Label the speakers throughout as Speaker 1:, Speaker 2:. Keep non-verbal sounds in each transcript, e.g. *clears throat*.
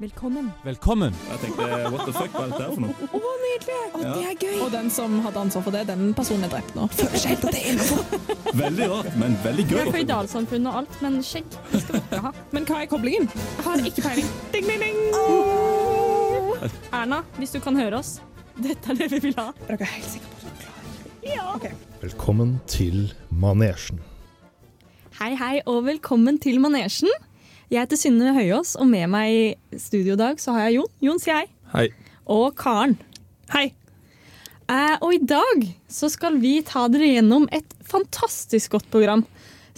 Speaker 1: Velkommen.
Speaker 2: Velkommen!
Speaker 3: Og Jeg tenkte what the fuck, hva er dette her for noe?
Speaker 4: Å, nydelig!
Speaker 1: Å, det er gøy!
Speaker 4: Og den som hadde ansvar for det, den personen er drept nå.
Speaker 1: Føler seg helt
Speaker 4: *laughs*
Speaker 1: at det er innafor.
Speaker 3: Veldig rart, men veldig gøy.
Speaker 5: Vi er føydalsamfunn og alt, men skjegg det skal vi ikke ha.
Speaker 4: Men hva er koblingen?
Speaker 5: Jeg har ikke peiling. Ding, ding, ding. Erna, hvis du kan høre oss, dette er det vi vil ha.
Speaker 4: Er dere helt sikre på at dere er klare?
Speaker 6: Velkommen til Manesjen.
Speaker 5: Hei, hei, og velkommen til Manesjen. Jeg heter Synne Høyås, og med meg i studio i dag så har jeg Jon. Jon, sier hei.
Speaker 3: Hei.
Speaker 5: Og Karen.
Speaker 4: Hei.
Speaker 5: Eh, og i dag så skal vi ta dere gjennom et fantastisk godt program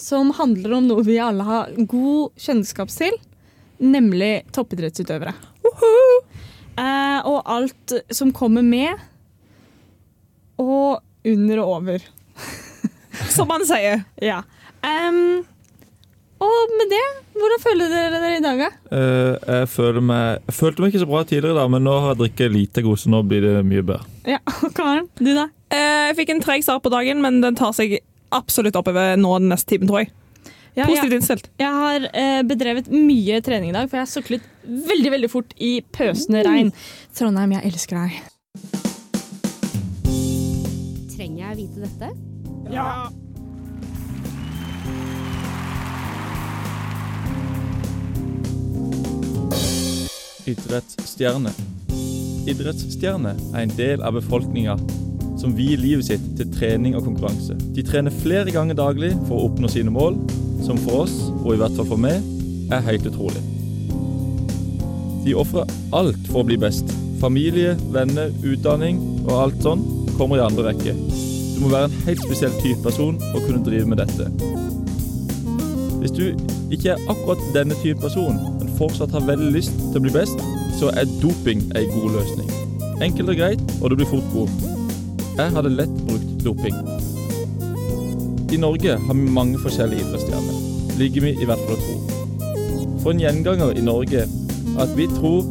Speaker 5: som handler om noe vi alle har god kjennskap til, nemlig toppidrettsutøvere. Eh, og alt som kommer med, og under og over.
Speaker 4: Som man sier.
Speaker 5: Ja. Ehm, og med det, hvordan føler dere dere i dag? da?
Speaker 7: Eh, jeg, føler meg, jeg følte meg ikke så bra tidligere, da, men nå har jeg drukket lite god, så nå blir det mye bedre.
Speaker 5: Ja, *laughs* Karen, du da?
Speaker 4: Eh, Jeg fikk en treg start på dagen, men den tar seg absolutt oppover nå den neste timen, tror jeg.
Speaker 5: Ja, jeg,
Speaker 4: Positivt innstilt.
Speaker 5: jeg har eh, bedrevet mye trening i dag, for jeg har syklet veldig veldig fort i pøsende regn. Trondheim, jeg elsker deg.
Speaker 1: Trenger jeg vite dette?
Speaker 7: Idrettsstjerne. Idrettsstjerne er en del av befolkninga som vier livet sitt til trening og konkurranse. De trener flere ganger daglig for å oppnå sine mål, som for oss, og i hvert fall for meg, er helt utrolig. De ofrer alt for å bli best. Familie, venner, utdanning og alt sånn kommer i andre rekke. Du må være en helt spesiell type person å kunne drive med dette. Hvis du ikke er akkurat denne type person, men fortsatt har veldig lyst til å bli best, så er doping ei god løsning. Enkelt og greit, og du blir fort god. Jeg hadde lett brukt doping. I Norge har vi mange forskjellige idrettsstjerner, ligger vi i hvert fall og tror. For en gjenganger i Norge at vi tror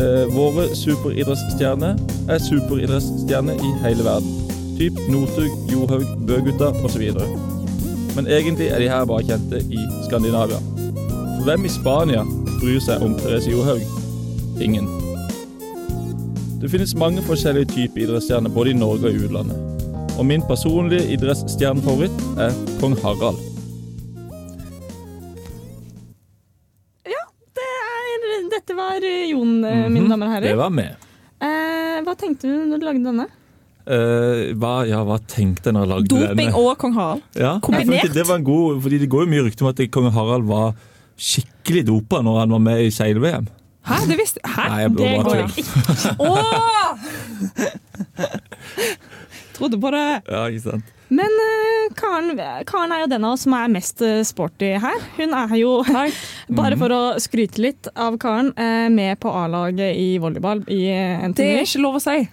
Speaker 7: eh, våre superidrettsstjerner er superidrettsstjerner i hele verden. Typ Northug, Johaug, Bøgutta osv men egentlig er de her bare kjente i Skandinavia. For hvem i Spania bryr seg om Therese Johaug? Ingen. Det finnes mange forskjellige typer idrettsstjerner både i Norge og i utlandet. Og min personlige idrettsstjernefavoritt er kong Harald.
Speaker 5: Det er- Dette var eh, Jon, eh, mine damer og herrer.
Speaker 7: Mhm. var med.
Speaker 5: Eh, hva tenkte du når du lagde denne?
Speaker 7: Eh, hva, ja, hva tenkte jeg når jeg lagde
Speaker 4: Doping og kong Harald.
Speaker 7: Ja,
Speaker 4: Kombinert.
Speaker 7: jeg følte Det var en god, fordi det går jo mye rykter om at kong Harald var skikkelig dopa når han var med i seil-VM.
Speaker 4: Hæ? Det visste Hæ?
Speaker 7: Nei, jeg
Speaker 5: Det
Speaker 7: bare
Speaker 5: går
Speaker 7: tull.
Speaker 5: ikke.
Speaker 4: Åh! *laughs* Trodde på det.
Speaker 7: Ja, ikke sant?
Speaker 5: Men eh, Karen, Karen er jo den av oss som er mest eh, sporty her. Hun er jo, *laughs*
Speaker 7: Mhm.
Speaker 5: bare for å skryte litt av Karen, eh, med på A-laget i volleyball i eh,
Speaker 4: Det er
Speaker 5: NTNU.
Speaker 4: ikke lov å si.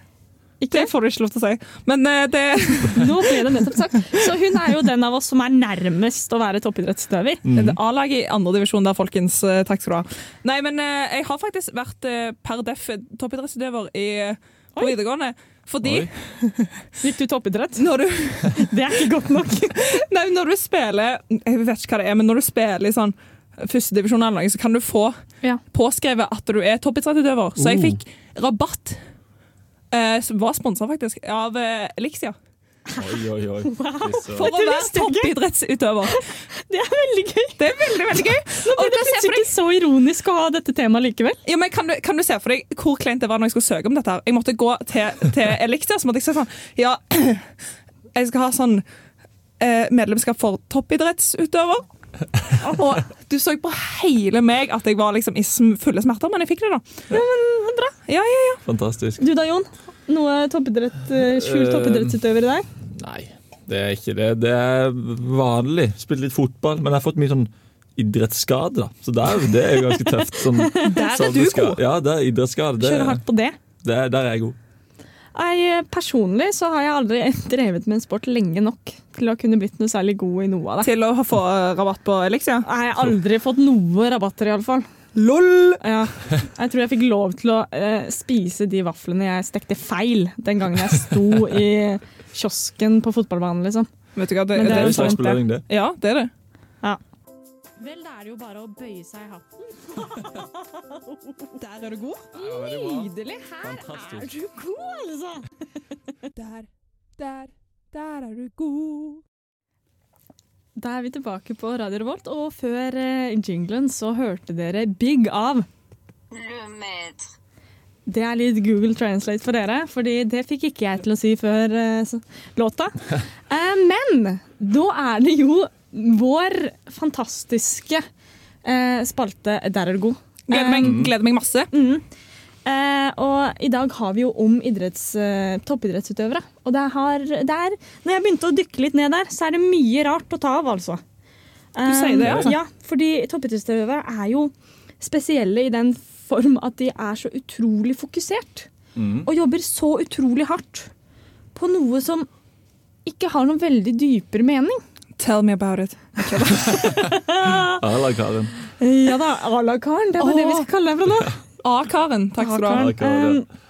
Speaker 4: Det
Speaker 5: Ikke?
Speaker 4: får du Mm. ikke lov til å si. Men eh, det
Speaker 5: Nå ble det nettopp sagt. Så hun er jo den av oss som er nærmest å være toppidrettsutøver.
Speaker 4: Det er A-laget i andredivisjon der, folkens. Eh, Takk skal du ha. Nei, men eh, jeg har faktisk vært eh, per def toppidrettsutøver i, på videregående. Fordi
Speaker 7: Oi.
Speaker 5: Gikk du toppidrett?
Speaker 4: når du,
Speaker 5: *laughs* Det er ikke godt nok.
Speaker 4: *laughs* nei, men når du spiller Jeg vet ikke hva det er, men når du spiller i sånn førstedivisjon eller noe, så kan du få
Speaker 5: Ja.
Speaker 4: påskrevet at du er toppidrettsutøver. Så jeg fikk rabatt. eh, som var sponsa, faktisk, av eh, Elixia.
Speaker 7: Oi, oi,
Speaker 4: *laughs*
Speaker 7: oi.
Speaker 4: For å
Speaker 5: Dette
Speaker 4: være
Speaker 5: visste jeg ikke.
Speaker 4: toppidrettsutøver.
Speaker 5: Det er veldig gøy.
Speaker 4: Det er veldig, veldig gøy.
Speaker 5: Nå
Speaker 4: Og
Speaker 5: blir det
Speaker 4: da ser jeg for
Speaker 5: plutselig ikke så ironisk å ha dette temaet likevel.
Speaker 4: Ja, men kan du, kan du se for deg hvor kleint det var når jeg skulle søke om dette? her? Jeg måtte gå til, til Elixia, så måtte jeg se sånn Ja, *clears throat* jeg skal ha sånn eh, medlemskap for toppidrettsutøver. Og du så på hele meg at jeg var liksom i sm- fulle smerter, men jeg fikk det, da. Ja, ja, ja.
Speaker 7: Fantastisk.
Speaker 5: Du da, Jon? Noe toppidrett, eh, skjult
Speaker 7: Eh,
Speaker 5: toppidrettsutøver i deg?
Speaker 7: Nei, det er ikke det. Det er vanlig. Spilt litt fotball, men jeg har fått mye sånn idrettsskade, da. Så det er, det er jo ganske tøft. Sånn,
Speaker 4: *laughs* Der
Speaker 7: sånn
Speaker 4: er du
Speaker 7: det skal-
Speaker 4: god.
Speaker 7: Ja, det er idrettsskade.
Speaker 5: Kjører
Speaker 7: Det,
Speaker 5: hardt på det.
Speaker 7: det, er- der er jeg god.
Speaker 5: Jeg, personlig så har jeg aldri *laughs* drevet med en sport lenge nok til å kunne blitt noe særlig god i noe av det.
Speaker 4: Til å ha- få eh, rabatt på Elixia.
Speaker 5: Jeg har aldri fått noe rabatter, iallfall.
Speaker 4: LOL!
Speaker 5: Ja. Jeg tror jeg fikk lov til å eh, spise de vaflene jeg stekte feil den gangen jeg sto i kiosken på fotballbanen, liksom.
Speaker 4: Vet du sånn hva, det,
Speaker 5: Men det
Speaker 4: det,
Speaker 7: Det er
Speaker 5: jo
Speaker 7: en slags
Speaker 5: sant, det.
Speaker 7: belønning, det.
Speaker 4: Ja, det er det.
Speaker 5: Vel, da er det jo bare å bøye seg i *laughs* hatten.
Speaker 4: Der er du god.
Speaker 7: Ja, veldig bra.
Speaker 5: Nydelig! Her er
Speaker 7: Fantastisk.
Speaker 5: du god,
Speaker 7: *laughs*
Speaker 5: altså!
Speaker 4: Der, der, der er du god.
Speaker 5: Da er vi tilbake på Radio Revolt, og før eh, jinglen så hørte dere Big av. Det er litt Google Translate for dere, fordi det fikk ikke jeg til å si før eh, s- låta. Eh, Men da er det jo vår fantastiske eh, spalte Der er du god.
Speaker 4: Gleder meg,
Speaker 3: Mm.
Speaker 4: gleder meg masse.
Speaker 5: Mm. Eh, og i dag har vi jo om idretts, eh, toppidrettsutøvere. Og det har, det er, når jeg begynte å dykke litt ned der, så er det mye rart å ta av, altså. Eh,
Speaker 4: sier det, altså?
Speaker 5: Ja, fordi toppidrettsutøvere er jo spesielle i den form at de er så utrolig fokusert.
Speaker 3: Mm.
Speaker 5: Og jobber så utrolig hardt på noe som ikke har noen veldig dypere mening.
Speaker 4: Tell me about it.
Speaker 7: Ala Karen.
Speaker 5: Ja da, à la karen. Det er bare det vi skal kalle deg fra nå.
Speaker 4: Ah, Karen. *laughs* Takk skal du ha.
Speaker 7: Karen. Akkurat,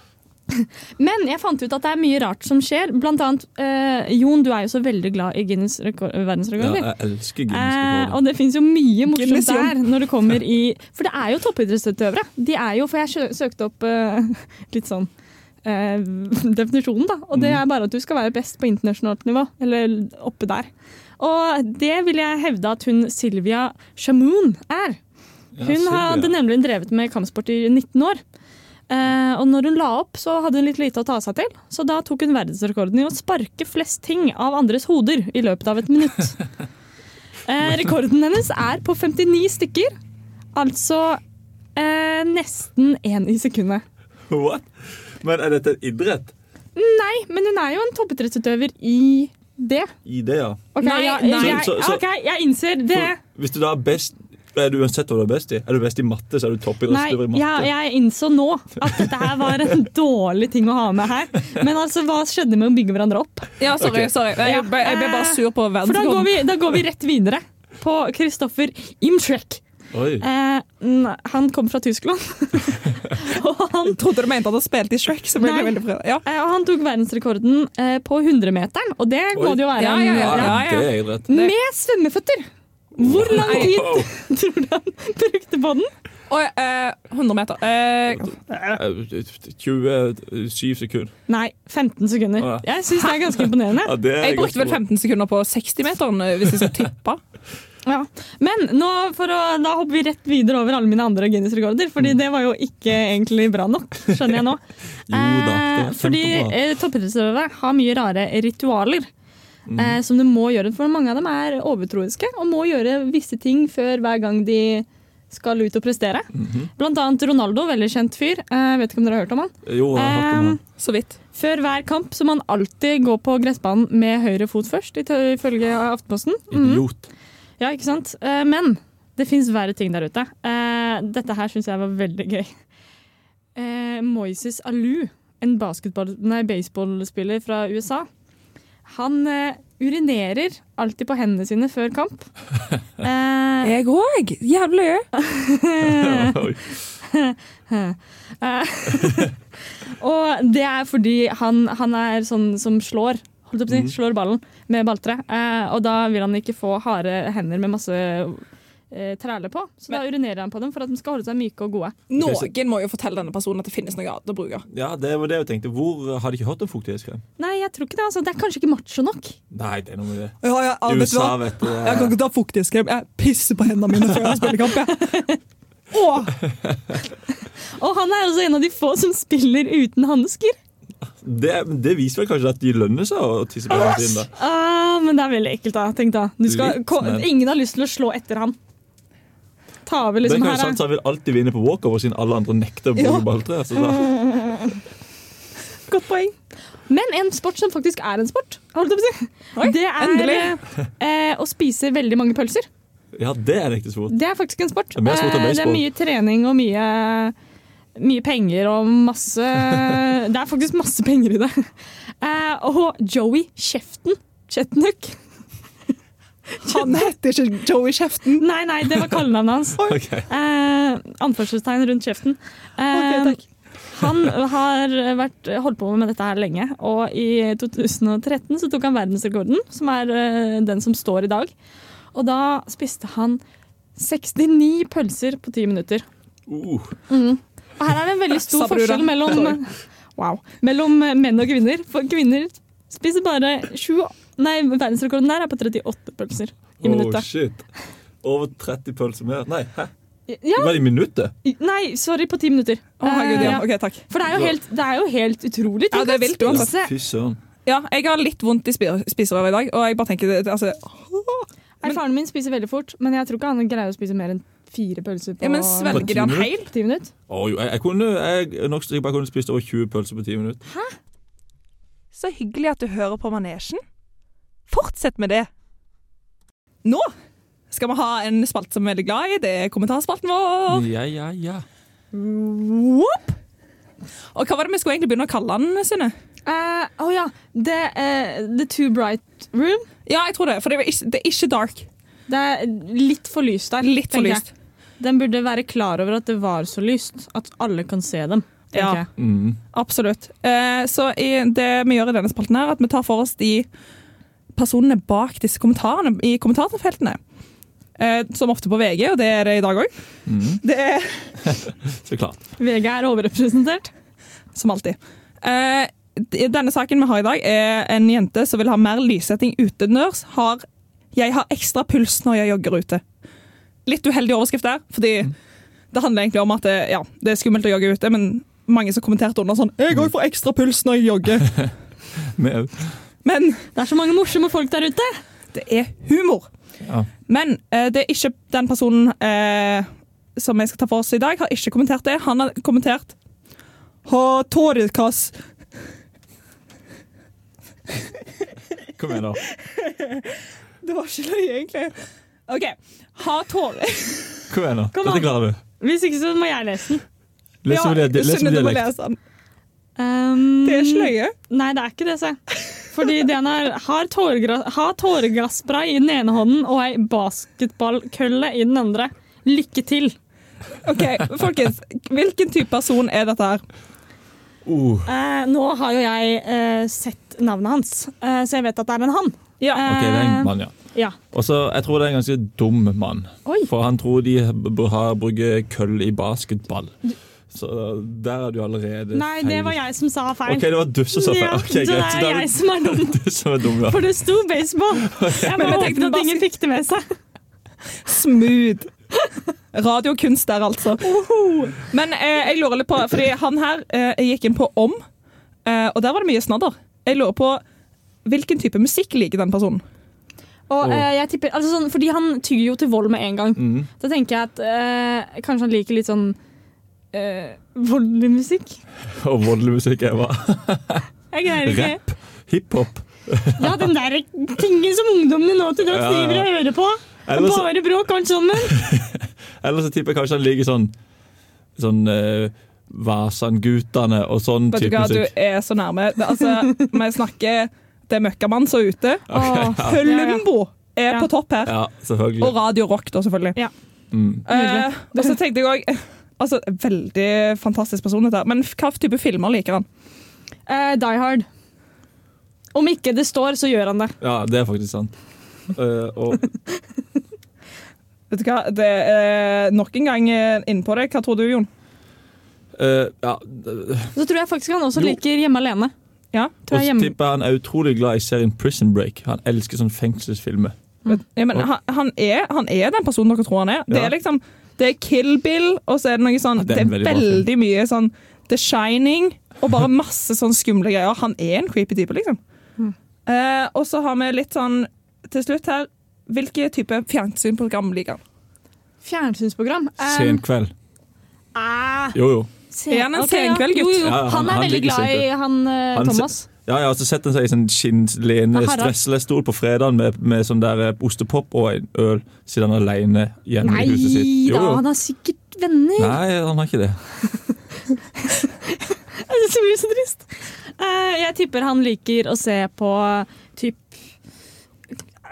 Speaker 5: Um, *laughs* men jeg fant ut at det er mye rart som skjer. Blant annet, eh, Jon, du er jo så veldig glad i Guinness rekord,
Speaker 7: Ja,
Speaker 5: verdensrekord. du.
Speaker 7: jeg elsker
Speaker 5: Eh,
Speaker 7: Guinness-rekorder.
Speaker 5: og det fins jo mye morsomt
Speaker 4: Guinness, Jon.
Speaker 5: der. når det kommer i... For det er jo toppidrettsutøvere. De er jo, For jeg sjø- søkte opp eh, *laughs* litt sånn eh, definisjonen, da. Og
Speaker 4: Mm.
Speaker 5: det er bare at du skal være best på internasjonalt nivå. Eller oppe der. Og det vil jeg hevde at hun Silvia Shamoon er.
Speaker 7: Ja,
Speaker 5: Hun
Speaker 7: Silvia.
Speaker 5: hadde nemlig drevet med kampsport i 19 år. Eh, og når hun la opp, så hadde hun litt lite å ta seg til, så da tok hun verdensrekorden i å sparke flest ting av andres hoder i løpet av et minutt.
Speaker 7: *laughs*
Speaker 5: Eh, rekorden hennes er på 59 stykker, altså eh, nesten én i sekundet.
Speaker 7: *laughs* What? Men er dette en idrett?
Speaker 5: Nei, men hun er jo en toppidrettsutøver i det.
Speaker 7: I det, ja.
Speaker 5: Ok,
Speaker 4: Nei,
Speaker 5: jeg,
Speaker 4: nei.
Speaker 5: Jeg,
Speaker 7: Så- så- så-
Speaker 5: ok, jeg innser det.
Speaker 7: Hvis du da er best er du uansett hva du er best i. Er du best i matte, så er du
Speaker 5: Nei,
Speaker 7: toppidrettsutøver i matte.
Speaker 5: jeg, jeg innså nå at dette her var
Speaker 7: *laughs*
Speaker 5: en dårlig ting å ha med her. Men altså, hva skjedde med å bygge hverandre opp?
Speaker 4: Ja, sorry. sorry. Jeg, ble, jeg ble bare sur på
Speaker 5: For da går
Speaker 4: verdensrekorden.
Speaker 5: vi, da går vi rett videre på Kristoffer Imtrek.
Speaker 7: Oi.
Speaker 5: Eh, n- han kom fra Tyskland. *laughs* og, han,
Speaker 4: Trodde du mente at han spilte i Shrek. Så ble jeg
Speaker 5: Nei.
Speaker 4: veldig prøvd. Ja.
Speaker 5: eh, og han tok verdensrekorden eh, på 100-meteren, og det må
Speaker 7: Oi.
Speaker 5: det jo være.
Speaker 4: Ja,
Speaker 5: en-
Speaker 4: ja, ja.
Speaker 7: Ah, Det er idrett.
Speaker 5: Med svømmeføtter! Hvor lang
Speaker 4: Nei.
Speaker 5: tid tror du han *laughs* brukte på den?
Speaker 4: Oi, eh, 100 meter. Eh,
Speaker 7: Eh, 27 sekunder.
Speaker 5: Nei, 15 sekunder.
Speaker 7: Å, ja.
Speaker 5: Jeg syns det er ganske imponerende.
Speaker 7: Ja, det er
Speaker 4: jeg
Speaker 7: ganske
Speaker 4: brukte vel
Speaker 7: bra.
Speaker 4: 15 sekunder på 60-meteren, eh, hvis jeg skal tippe.
Speaker 5: Ja. Men nå, for å, da hopper vi rett videre over alle mine andre Guinness-rekorder, fordi det var jo ikke egentlig bra nok, skjønner jeg nå.
Speaker 7: Mm. *laughs* Jo da, det
Speaker 5: Eh,
Speaker 7: er
Speaker 5: fordi
Speaker 7: kjempebra.
Speaker 5: eh, toppidrettsutøvere har mye rare ritualer.
Speaker 7: Mm.
Speaker 5: Eh, som du må gjøre, for Mange av dem er overtroiske og må gjøre visse ting før hver gang de skal ut og prestere.
Speaker 7: Mhm.
Speaker 5: Blant annet Ronaldo, veldig kjent fyr. Eh, vet ikke om dere har hørt om han.
Speaker 7: Jo, jeg har hørt om
Speaker 5: Eh,
Speaker 7: han.
Speaker 4: Så vidt.
Speaker 5: Før hver kamp så må han alltid gå på gressbanen med høyre fot først, ifølge Aftenposten. Mhm.
Speaker 7: Idiot.
Speaker 5: Ja, ikke sant? Eh, Men det fins verre ting der ute. Eh, Dette her syns jeg var veldig gøy. Eh, Moises Alou, en basketball- nei, baseballspiller fra USA, han eh, urinerer alltid på hendene sine før kamp. Eh,
Speaker 4: *laughs* Jeg òg. Jævlig. Eh.
Speaker 7: *laughs* Oi.
Speaker 5: og det er fordi han, han er sånn som slår. Holdt jeg på å si, Slår ballen med balltre. Eh, og da vil han ikke få harde hender med masse eh, træler på. Så da urinerer han på dem for at de skal holde seg myke og gode.
Speaker 4: Noen må jo fortelle denne personen at det finnes noe annet å bruke.
Speaker 7: Ja, det var det jeg tenkte. Hvor eh, har de ikke hørt om fuktighetskrem?
Speaker 5: Nei, jeg tror ikke det. Altså. Det er kanskje ikke macho nok.
Speaker 7: Nei, det er noe med det.
Speaker 4: Ja, ja, ja, vet du
Speaker 7: USA,
Speaker 4: hva?
Speaker 7: vet du. eh,
Speaker 4: Jeg kan ikke ta fuktighetskrem. Jeg pisser på hendene mine før jeg spiller kamp. Jeg. Åh,
Speaker 5: Og han er også en av de få som spiller uten hansker.
Speaker 7: Det, det viser vel kanskje at de lønner seg å tisse på hendene sine. da.
Speaker 5: Ah, men det er veldig ekkelt, da. Tenk da. Du skal,
Speaker 7: Litt,
Speaker 5: ko,
Speaker 7: men-
Speaker 5: ingen har lyst til å slå etter ham. Ta over,
Speaker 7: Det
Speaker 5: liksom.
Speaker 7: kan jo
Speaker 5: Her,
Speaker 7: sant,
Speaker 5: er-
Speaker 7: så Han vil alltid vinne på walkover siden alle andre nekter å bruke
Speaker 4: eh. Ja.
Speaker 7: balltre. Så da,
Speaker 4: *laughs* *laughs* godt poeng.
Speaker 5: Men en sport som faktisk er en sport, holdt jeg på å si,
Speaker 4: Oi,
Speaker 5: det er
Speaker 4: endelig.
Speaker 5: eh, å spise veldig mange pølser.
Speaker 7: ja, det er en ekte sport.
Speaker 5: Det er faktisk en sport.
Speaker 7: Det er mer sport enn
Speaker 5: Eh, det er
Speaker 7: baseball.
Speaker 5: mye trening og mye, mye penger og
Speaker 7: *laughs*
Speaker 5: masse Det er faktisk masse penger i det. Eh, og Joey Kjeften Chetnuk
Speaker 4: Han heter ikke Joey Kjeften.
Speaker 5: Nei, nei, det var kallenavnet hans.
Speaker 7: Ok.
Speaker 5: Eh, anførselstegn rundt kjeften. Eh,
Speaker 4: Ok, takk.
Speaker 5: Han har vært, holdt på med dette her lenge, og i 2013 så tok han verdensrekorden, som er eh, den som står i dag. Og da spiste han 69 pølser på 10 minutter.
Speaker 7: Uh,
Speaker 5: Og her er det en veldig stor
Speaker 4: Sa brura.
Speaker 5: forskjell mellom, wow, mellom menn og kvinner. For kvinner spiser bare 7 Nei, verdensrekorden der er på 38 pølser i
Speaker 7: oh,
Speaker 5: minuttet.
Speaker 7: shit. Over 30 pølser mer. Nei, hæ?
Speaker 5: Ja,
Speaker 7: Var det i minuttet?
Speaker 5: nei, sorry, på 10 minutter.
Speaker 4: Å, herregud, ja.
Speaker 5: Eh,
Speaker 4: OK, takk.
Speaker 5: For det er jo helt, det er jo helt utrolig.
Speaker 4: Ja,
Speaker 5: Tenk
Speaker 4: det er
Speaker 5: å
Speaker 4: vilt uansett.
Speaker 5: spise-
Speaker 7: Fy søren.
Speaker 4: Ja, jeg har litt vondt i spi- spiserøret i dag, og jeg bare tenker det- det- altså,
Speaker 5: Nei, Faren min spiser veldig fort, men jeg tror ikke han greier å spise mer enn fire pølser på
Speaker 4: ja, Men
Speaker 7: På
Speaker 4: svelger
Speaker 7: ti
Speaker 4: de han
Speaker 7: minutter?
Speaker 4: heil?
Speaker 5: ti minutter.
Speaker 7: Å, jo, jeg, jeg kunne jeg, nok sikkert bare kunne spist over 20 pølser på 10 minutter.
Speaker 2: Så hyggelig at du hører på Manesjen. Fortsett med det!
Speaker 4: Nå skal vi ha en spalte som vi er veldig glad i. Det er kommentarspalten vår.
Speaker 7: Ja, ja, ja.
Speaker 4: Whoop. Og hva var det vi skulle egentlig begynne å kalle den, Synne?
Speaker 5: Eh, Å ja. The, eh, the Too Bright Room.
Speaker 4: Ja, jeg tror det. For det er ikke, det er ikke dark.
Speaker 5: Det er litt for lyst der.
Speaker 4: Litt for
Speaker 5: tenker
Speaker 4: lyst.
Speaker 5: Jeg. Den burde være klar over at det var så lyst at alle kan se dem.
Speaker 4: Ja.
Speaker 5: tenker jeg.
Speaker 7: Mm.
Speaker 4: Absolutt. Eh, så i, det vi gjør i denne spalten, her, at vi tar for oss de personene bak disse kommentarene i kommentarfeltene. Eh, som ofte på VG, og det er det i dag òg. Det er
Speaker 7: mm. Så klart.
Speaker 5: VG er overrepresentert.
Speaker 4: som alltid. Eh, d- denne saken vi har i dag, er en jente som vil ha mer lyssetting utendørs. Har 'Jeg har ekstra puls når jeg jogger ute'. Litt uheldig overskrift der, fordi det handler egentlig om at det, ja, det er skummelt å jogge ute, men mange som kommenterte under sånn 'Jeg òg får ekstra puls når jeg jogger'.
Speaker 7: Med,
Speaker 4: Men
Speaker 5: Det er så mange morsomme folk der ute!
Speaker 4: det er humor.
Speaker 7: ja.
Speaker 4: Men eh, det er ikke den personen eh, som jeg skal ta for oss i dag, har ikke kommentert det. Han har kommentert Ha tårekass.
Speaker 7: Kom igjen, da.
Speaker 4: Det var ikke løye, egentlig. OK. Ha tåre...
Speaker 7: Kom igjen, da.
Speaker 5: Kom
Speaker 7: Dette
Speaker 5: an.
Speaker 7: klarer du.
Speaker 5: Hvis ikke så må jeg lese den.
Speaker 7: Les med det- les
Speaker 4: Synne,
Speaker 7: med
Speaker 4: du må
Speaker 7: dialekt. Mm.
Speaker 4: lese den.
Speaker 5: Um,
Speaker 4: Det er ikke løye.
Speaker 5: Nei, det er ikke det, se. Fordi den er har, tåregra- har tåregasspray i den ene hånden og ei basketballkølle i den andre. Lykke til!
Speaker 4: OK, folkens. Hvilken type person er dette her?
Speaker 7: Uh,
Speaker 5: Eh, nå har jo jeg eh, sett navnet hans, eh, så jeg vet at det er en han.
Speaker 4: Ja.
Speaker 7: ok, det er
Speaker 5: Eh.
Speaker 7: en mann, ja.
Speaker 5: Ja.
Speaker 7: Og så, Jeg tror det er en ganske dum mann.
Speaker 5: Oi.
Speaker 7: For han tror de b- har bruker køll i basketball. Så eh, der er du allerede
Speaker 5: Nei, det var jeg som sa feil.
Speaker 7: OK, det var du som sa feil.
Speaker 5: Ja,
Speaker 7: Ok,
Speaker 5: så det
Speaker 7: greit.
Speaker 5: er
Speaker 7: Så da
Speaker 5: jeg som er dum,
Speaker 7: det du som er dum, da.
Speaker 5: for det sto
Speaker 7: *laughs*
Speaker 5: baseball. Jeg bare
Speaker 4: jeg tenkte
Speaker 5: håpet at
Speaker 4: basket-
Speaker 5: ingen fikk det med seg.
Speaker 4: Smooth. Radiokunst der, altså. Men eh, jeg lurer litt på, fordi han her eh, jeg gikk inn på om, eh, og der var det mye snadder. Jeg lurer på hvilken type musikk liker den personen.
Speaker 5: Og,
Speaker 7: Åh.
Speaker 5: eh, jeg tipper, altså sånn, fordi han tyr jo til vold med en gang.
Speaker 7: Mm.
Speaker 5: Da tenker jeg at eh, kanskje han liker litt sånn eh, voldelig musikk.
Speaker 7: Og voldelig musikk er hva?
Speaker 5: Jeg greier ikke.
Speaker 7: Rap? Hiphop?
Speaker 5: Ja, den der tingen som ungdommene nå til dags
Speaker 7: Ja, ja, ja.
Speaker 5: driver og hører på. Og
Speaker 7: Ellers,
Speaker 5: bare bråk alt sammen.
Speaker 7: *laughs* ellers så tipper jeg kanskje han liker sånn Sånn eh, Vasan-gutane og sånn
Speaker 4: Vet du
Speaker 7: type
Speaker 4: hva, du
Speaker 7: musikk.
Speaker 4: er så nærme. Det, altså, vi snakker Det er møkkamann som er ute.
Speaker 5: Åh,
Speaker 4: Høllembo er
Speaker 5: Ja.
Speaker 4: på topp her.
Speaker 7: Ja, selvfølgelig.
Speaker 4: Og Radio Rock, da, selvfølgelig.
Speaker 5: Ja.
Speaker 7: Mm.
Speaker 4: Eh, og så tenkte jeg òg *laughs* Altså, veldig fantastisk person, dette. her. Men hva type filmer liker han?
Speaker 5: Eh, Die Hard. Om ikke det står, så gjør han det.
Speaker 7: Ja, det er faktisk sant. Eh, og
Speaker 4: Vet du hva, det er nok en gang eh, inne på det. Hva tror du, Jon?
Speaker 7: eh, Ja,
Speaker 5: Så tror jeg faktisk han også
Speaker 7: Jo.
Speaker 5: liker Hjemme alene.
Speaker 4: Ja?
Speaker 5: Tror jeg
Speaker 7: Og så
Speaker 5: hjemme.
Speaker 7: tipper jeg han er utrolig glad i serien Prison Break. Han elsker sånn fengselsfilmer.
Speaker 4: Ja, men han, han, er, han er den personen dere tror han er. Det
Speaker 7: Ja.
Speaker 4: er liksom Det er Kill Bill, og så er det noe sånn
Speaker 7: Ja,
Speaker 4: Det er veldig,
Speaker 7: bra film.
Speaker 4: mye sånn The Shining og bare masse sånn skumle greier. Han er en creepy type, liksom. Eh, og så har vi litt sånn til slutt her Hvilke type fjernsynprogram liker han?
Speaker 5: Fjernsynsprogram. Eh,
Speaker 7: Senkveld.
Speaker 5: ah,
Speaker 7: Jo, jo.
Speaker 5: sen-
Speaker 4: Er han en
Speaker 5: ok, ja.
Speaker 4: senkveld, gutt?
Speaker 5: Jo, jo.
Speaker 7: Ja, ja,
Speaker 5: han
Speaker 7: han-
Speaker 5: er
Speaker 7: han
Speaker 5: veldig
Speaker 7: liker
Speaker 5: glad i
Speaker 7: senkveld.
Speaker 5: han, eh,
Speaker 7: Han se-
Speaker 5: Thomas.
Speaker 7: Ja, ja, så setter han seg i sånn skinnlene
Speaker 5: Ja, Harald.
Speaker 7: stresslestol på fredagen med, med sånn der eh, ostepop og en øl, siden han er alene hjemme
Speaker 5: Nei
Speaker 7: i huset sitt. Jo,
Speaker 5: da,
Speaker 7: jo.
Speaker 5: han har sikkert venner.
Speaker 7: Nei, han har ikke det.
Speaker 5: *laughs* Det blir så trist. Eh, jeg tipper han liker å se på typ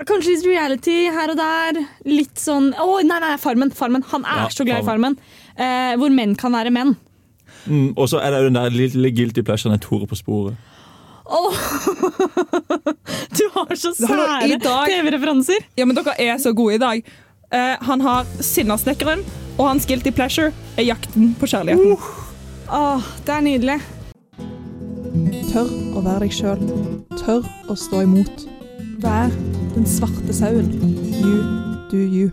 Speaker 5: Kanskje litt reality her og der. Litt sånn Å, nei, nei, Farmen! farmen. Han er
Speaker 7: Ja,
Speaker 5: så glad i
Speaker 7: Farmen.
Speaker 5: Farmen. Eh, hvor menn kan være menn.
Speaker 7: Mm, og så er det jo den der lille guilty pleasuren er Tore på sporet.
Speaker 5: Åh! *laughs* Du har så
Speaker 4: Hallo, i
Speaker 5: sære
Speaker 4: dag-
Speaker 5: TV-referanser!
Speaker 4: Ja, men dere er så gode i dag. Eh, han har Sinnasnekkeren, og hans guilty pleasure er jakten på kjærligheten.
Speaker 5: Åh, det er nydelig.
Speaker 2: Tør å være deg sjøl. Tør å stå imot. Vær den svarte sauen. You do you.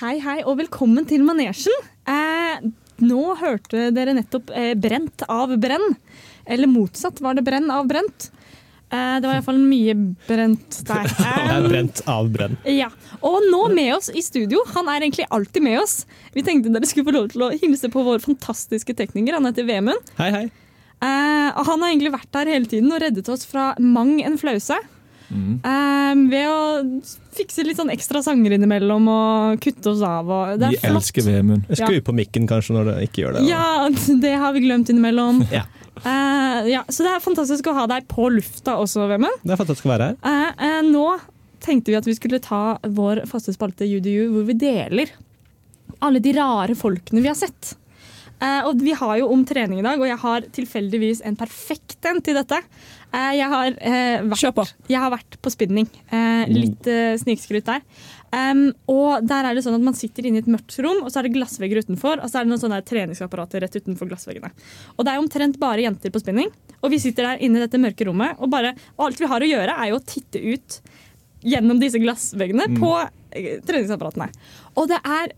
Speaker 5: Hei, hei, og velkommen til manesjen. Eh, nå hørte dere nettopp eh, 'Brent av brenn'. Eller motsatt, var det 'Brenn av brent'? Eh, det var iallfall mye brent
Speaker 8: *laughs*
Speaker 5: der.
Speaker 8: Det er
Speaker 5: Em,
Speaker 8: brent av brenn.
Speaker 5: Ja, Og nå med oss i studio, han er egentlig alltid med oss. Vi tenkte dere skulle få lov til å hilse på vår fantastiske tekniker. Han heter Vemund.
Speaker 8: Hei, hei.
Speaker 5: Eh, og han har egentlig vært der hele tiden og reddet oss fra mang en flause.
Speaker 7: Mm.
Speaker 5: Eh, ved å fikse litt sånn ekstra sanger innimellom og kutte oss av. Og det er
Speaker 7: Vi
Speaker 5: flott.
Speaker 7: elsker Vemund.
Speaker 8: Jeg skrur på mikken kanskje når det ikke gjør det.
Speaker 5: Ja, *laughs* det har vi glemt innimellom.
Speaker 8: *laughs* Ja.
Speaker 5: Eh, ja, så det er fantastisk å ha deg på lufta også, Vemund.
Speaker 8: Det er fantastisk å være her.
Speaker 5: Eh, eh, nå tenkte vi at vi skulle ta vår faste spalte UDU, hvor vi deler alle de rare folkene vi har sett. Eh, og vi har jo om trening i dag, og jeg har tilfeldigvis en perfekt en til dette. Eh, jeg, har, eh,
Speaker 4: Kjør på.
Speaker 5: vært, jeg har vært på spinning. Eh,
Speaker 8: Mm.
Speaker 5: litt eh, snikskryt der. Em, og der er det sånn at Man sitter inne i et mørkt rom, og så er det glassvegger utenfor. Og så er det noen sånne her treningsapparater rett utenfor glassveggene. Og det er omtrent bare jenter på spinning. Og vi sitter der inne i dette mørke rommet, og, bare, og alt vi har å gjøre, er jo å titte ut gjennom disse glassveggene på eh, treningsapparatene. Og det er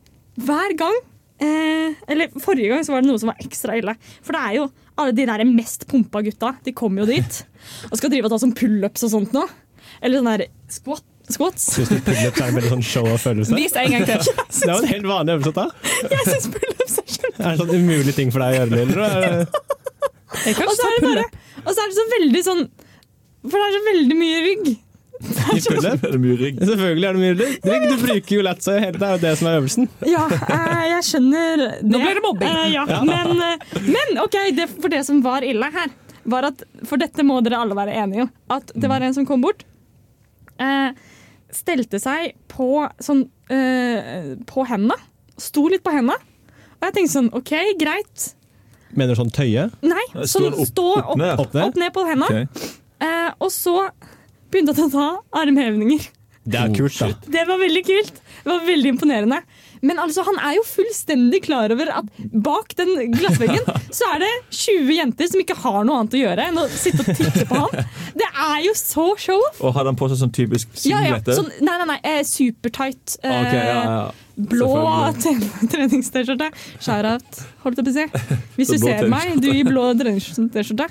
Speaker 5: hver gang eh, Eller forrige gang så var det noe som var ekstra ille. For det er jo alle de der mest pumpa gutta. De kommer jo dit og skal drive og ta sånn pullups og sånt nå. Eller sånn der squat, squats.
Speaker 8: Syns du pullups er en veldig sånn show og følelse?
Speaker 4: Vis det en gang
Speaker 5: *laughs*
Speaker 4: til.
Speaker 8: Det er jo en helt vanlig øvelse å ta.
Speaker 5: Jeg syns pullups er kjempe...
Speaker 8: Er det sånn umulig ting for deg å gjøre, Lill? eller er det-
Speaker 4: Jeg kan
Speaker 5: Og så
Speaker 4: ikke ta
Speaker 5: er det bare
Speaker 4: pullup.
Speaker 5: Og så er det så veldig sånn For det er så veldig mye rygg.
Speaker 8: I pullup?
Speaker 7: Er *laughs* det mye rygg?
Speaker 8: Selvfølgelig er det mulig. Drikk, du bruker jo latsa hele tiden, det er jo det som er øvelsen.
Speaker 5: Ja, eh, jeg skjønner det.
Speaker 4: Nå blir det mobbing.
Speaker 5: Eh, ja. men, eh, men OK, det, for det som var ille her, var at For dette må dere alle være enige om. At det var en som kom bort. Eh, stelte seg på sånn eh, På henda. Sto litt på henda. Og jeg tenkte sånn OK, greit.
Speaker 8: Mener du sånn tøye?
Speaker 5: Nei,
Speaker 7: Står
Speaker 5: sånn
Speaker 7: opp-
Speaker 5: stå
Speaker 7: opp
Speaker 5: opp,
Speaker 7: ned?
Speaker 8: Opp ned?
Speaker 5: opp ned på henda.
Speaker 7: Ok.
Speaker 5: Eh, og så begynte jeg å ta armhevinger.
Speaker 8: Det er kult, da.
Speaker 5: Det var veldig kult. Det var veldig imponerende. Men altså, han er jo fullstendig klar over at bak den
Speaker 7: *laughs*
Speaker 5: glassveggen så er det 20 jenter som ikke har noe annet å gjøre enn å sitte og titte på han. Det er jo så show-off!
Speaker 7: Og hadde han på seg sånn typisk
Speaker 5: Ja, ja.
Speaker 7: singlete?
Speaker 5: Sånn, nei, nei, nei. Eh, supertight. Eh,
Speaker 7: Ok, ja, ja, ja.
Speaker 5: Blå t- *laughs* treningst-T-skjorte. Shout-out, holdt jeg på å
Speaker 7: *laughs*
Speaker 5: si. Hvis du
Speaker 7: Det er blå
Speaker 5: ser meg, du i blå treningst-T-skjorte.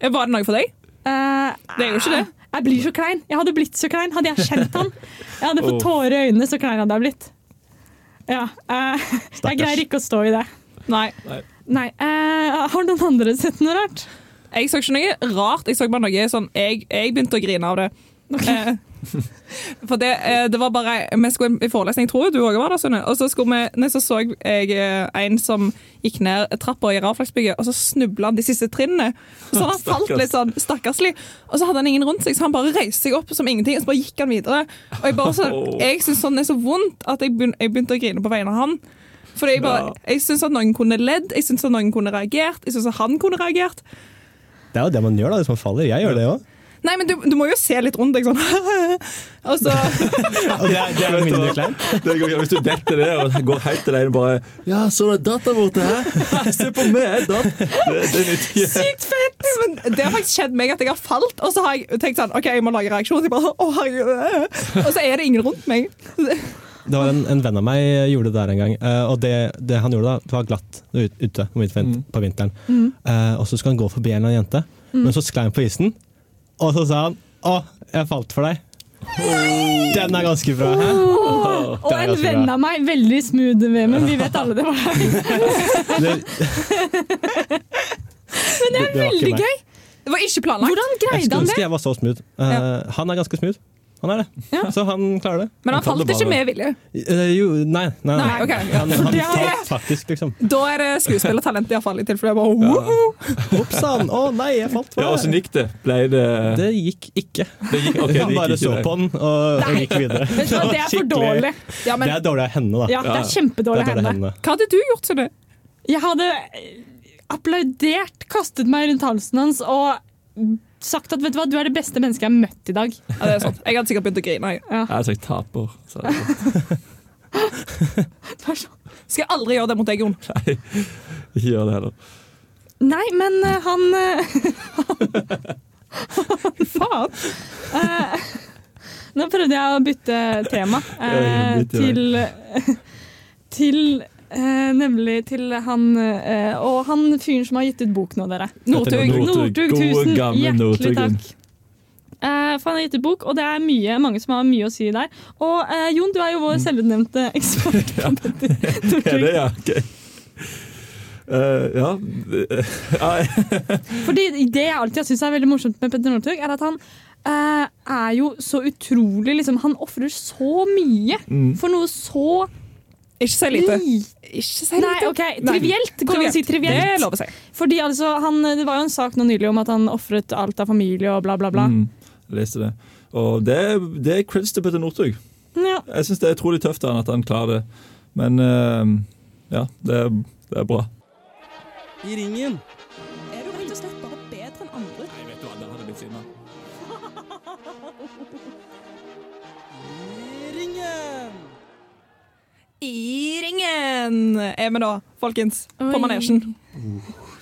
Speaker 4: Eh, Var det noe for deg?
Speaker 5: Eh,
Speaker 4: Det er jo ikke det.
Speaker 5: Jeg blir så klein. Jeg hadde blitt så klein hadde jeg kjent han. Jeg hadde fått
Speaker 7: Åh.
Speaker 5: tårer i øynene, så klein hadde jeg blitt. Ja, eh, Jeg greier ikke å stå i det.
Speaker 4: Nei.
Speaker 5: Nei, eh, Har noen andre sett noe rart?
Speaker 4: Jeg så ikke noe rart. Jeg så bare noe sånn Jeg, jeg begynte å grine av det. Eh, *laughs* For det, eh, det var bare Vi skulle i forelesning, jeg tror du òg var der, Sunne. Og så, skulle vi, nei, så så jeg eh, en som gikk ned trappa i Raflaksbygget, og så snubla han de siste trinnene. Så han falt
Speaker 7: Stakkars.
Speaker 4: litt sånn stakkarslig. Og så hadde han ingen rundt seg, så han bare reiste seg opp som ingenting, og så bare gikk han videre. Og jeg bare så, jeg syns sånn er så vondt at jeg begynte, jeg begynte å grine på vegne av han. For jeg, bare, jeg syns at noen kunne ledd, jeg syns at noen kunne reagert, jeg syns at han kunne reagert.
Speaker 8: Det er jo det man gjør da, hvis man faller. Jeg gjør det òg.
Speaker 4: Nei, men du, du må jo se litt rundt deg sånn. *laughs* og
Speaker 5: *laughs*
Speaker 4: så
Speaker 8: Og det er, det er jo mindre kleint.
Speaker 7: Det går, hvis du detter det og går helt til deg og bare Ja, så det datt der borte, hæ? Se på meg, jeg datt. Det, det er nytt.
Speaker 4: Sykt fett! Men det har faktisk skjedd meg at jeg har falt, og så har jeg tenkt sånn OK, jeg må lage reaksjon. Så jeg bare, å, herregud. øh». Og så er det ingen rundt meg.
Speaker 8: Det var en, en venn av meg eh, gjorde det der en gang. eh, og det, det han gjorde da, det var glatt ut- ute om vinteren- på vinteren. Eh, og så skulle han gå forbi en eller annen jente, men så sklei han på isen. Og så sa han 'Å, jeg falt for deg'. Den er ganske bra. Hæ?
Speaker 5: Og en
Speaker 8: ganske
Speaker 5: venn
Speaker 8: bra.
Speaker 5: av meg. Veldig smooth, Vemund. Vi vet alle det var deg.
Speaker 8: Det, Men det er
Speaker 5: Veldig gøy.
Speaker 4: Det var ikke planlagt.
Speaker 5: Hvordan
Speaker 8: Jeg
Speaker 5: greide
Speaker 8: skulle
Speaker 5: han det?
Speaker 8: ønske jeg var så smooth. Eh,
Speaker 4: Ja.
Speaker 8: Han er ganske smooth. Han er det. Så han klarer det.
Speaker 4: Men han
Speaker 7: kan
Speaker 4: falt
Speaker 7: det
Speaker 4: ikke
Speaker 7: bare-
Speaker 4: med vilje.
Speaker 8: Eh, jo, nei, nei. nei.
Speaker 4: Nei, ok. *laughs*
Speaker 8: Han, han
Speaker 5: det har jeg-
Speaker 8: falt faktisk, liksom.
Speaker 4: Da er det skuespillertalent, iallfall. I tilfelle jeg bare wow.
Speaker 8: Ops sann! Å nei, jeg falt for
Speaker 7: Ja, altså, Åssen gikk det? Ble det
Speaker 8: Det gikk ikke.
Speaker 7: det gikk, ok,
Speaker 8: han
Speaker 7: det
Speaker 8: bare
Speaker 7: gikk
Speaker 8: så
Speaker 7: ikke
Speaker 8: på den og, og gikk videre.
Speaker 5: Vet du hva, Det
Speaker 8: var
Speaker 5: er for
Speaker 8: skikkelig-
Speaker 5: dårlig.
Speaker 4: Ja,
Speaker 8: Det
Speaker 4: men
Speaker 8: er dårlig av henne, da.
Speaker 5: Ja, det er
Speaker 8: Det
Speaker 5: kjempedårlig
Speaker 8: er
Speaker 5: av
Speaker 8: dårlig av
Speaker 5: henne.
Speaker 8: henne.
Speaker 4: hva hadde du gjort, Sunne?
Speaker 5: Jeg hadde eh, applaudert, kastet meg rundt halsen hans og sagt at vet du hva, du er det beste mennesket jeg har møtt i dag.
Speaker 7: altså,
Speaker 4: Ja, det er sant. Jeg hadde sikkert begynt å grine. jeg.
Speaker 7: Jeg sa jeg taper. Så.
Speaker 5: Det var sånn.
Speaker 4: Skal jeg aldri gjøre det mot deg, Jon.
Speaker 7: Ikke gjør det heller.
Speaker 5: Nei, men eh, *laughs* han eh, Faen! Eh, nå prøvde jeg å bytte tema eh,
Speaker 7: Ja, bytte vei.
Speaker 5: til Til eh, Nemlig til han eh, Og han fyren som har gitt ut bok nå, dere.
Speaker 4: Northug.
Speaker 7: Northug.
Speaker 5: Northug,
Speaker 7: Gode,
Speaker 5: tusen
Speaker 7: gamle
Speaker 5: hjertelig
Speaker 7: Northugen.
Speaker 5: takk. Eh, for han har gitt ut bok, og det er mye, mange som har mye å si der. Og eh, Jon, du er jo vår selvutnevnte
Speaker 7: *laughs*
Speaker 5: ekspert. på dette.
Speaker 7: Mm. Er
Speaker 5: Northug.
Speaker 7: det, ja? Ok. Eh, ja. *laughs* ja.
Speaker 5: Fordi det jeg alltid har syntes er veldig morsomt med Petter Northug, er at han eh, er jo så utrolig liksom, Han ofrer så mye
Speaker 7: Mm.
Speaker 5: for noe så
Speaker 4: Ikke si lite.
Speaker 5: lite.
Speaker 4: Ikke si lite.
Speaker 5: Nei, OK, trivielt. Går det an å si
Speaker 4: Det er
Speaker 5: trivielt?
Speaker 4: lov å si.
Speaker 5: Fordi altså, han, Det var jo en sak nå nylig om at han ofret alt av familie og bla, bla, bla.
Speaker 7: Mm. Jeg leste det. Og det, er- det er creds til Petter Northug.
Speaker 5: Mm, Ja.
Speaker 7: Jeg syns det er utrolig tøft av han at han klarer det. Men eh, ja, det er, det er bra.
Speaker 8: I ringen!
Speaker 4: Er du rett og slett bare bedre enn andre?
Speaker 7: Nei, vet du hva, der hadde jeg blitt sinna.
Speaker 8: I ringen!
Speaker 4: I ringen er vi da, folkens. På
Speaker 5: Oi.
Speaker 4: manesjen.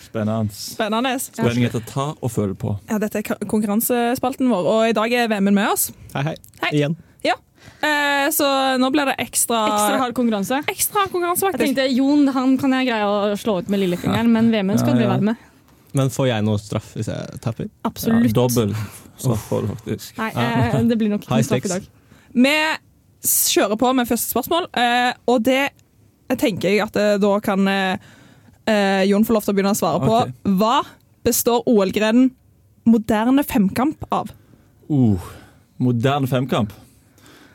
Speaker 7: Spennende.
Speaker 4: Spennende.
Speaker 7: Spenning etter ta og føle på.
Speaker 4: Ja, dette er ka- konkurransespalten vår, og i dag er VM-en med oss.
Speaker 8: Hei, hei.
Speaker 4: Hei.
Speaker 8: Igjen.
Speaker 4: Eh, så nå blir det ekstra
Speaker 5: Ekstra hard konkurranse.
Speaker 4: ekstra konkurranse,
Speaker 5: Jeg
Speaker 4: faktisk.
Speaker 5: tenkte Jon han kan jeg greie å slå ut med lillefingeren, men Vemund skal
Speaker 7: Ja,
Speaker 5: du
Speaker 7: ja.
Speaker 5: være med.
Speaker 8: Men får jeg noe straff hvis jeg tapper?
Speaker 7: Ja,
Speaker 5: Absolutt.
Speaker 7: dobbel straff får du faktisk.
Speaker 5: Nei, eh, det blir nok
Speaker 8: High
Speaker 5: ikke straff i
Speaker 8: stakes.
Speaker 5: dag.
Speaker 4: Vi s- kjører på med første spørsmål, eh, og det tenker jeg at eh, da kan eh, eh, Jon få lov til å begynne å svare på.
Speaker 7: Ok.
Speaker 4: Hva består OL-grenen moderne femkamp av?
Speaker 7: Uh, moderne femkamp.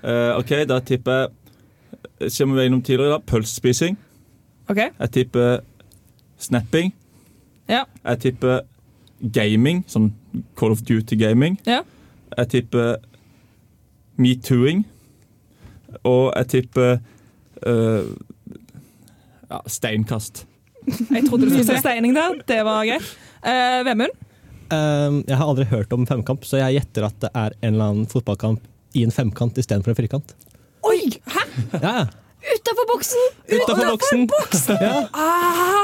Speaker 7: Eh, OK, da tipper jeg Som vi var innom tidligere, da, pølsespising.
Speaker 4: OK?
Speaker 7: Jeg tipper snapping.
Speaker 4: Ja.
Speaker 7: Jeg tipper gaming, sånn Call of Duty-gaming.
Speaker 4: Ja.
Speaker 7: Jeg tipper metooing. Og jeg tipper eh, ja, steinkast.
Speaker 4: Jeg trodde du skulle si steining der. Det var greit. Eh, Vemund?
Speaker 8: Ehm, jeg har aldri hørt om femkamp, så jeg gjetter at det er en eller annen fotballkamp i en femkant istedenfor en firkant.
Speaker 4: Oi! Hæ?
Speaker 8: Ja, ja.
Speaker 5: Utafor boksen!
Speaker 8: Utafor boksen! Ja.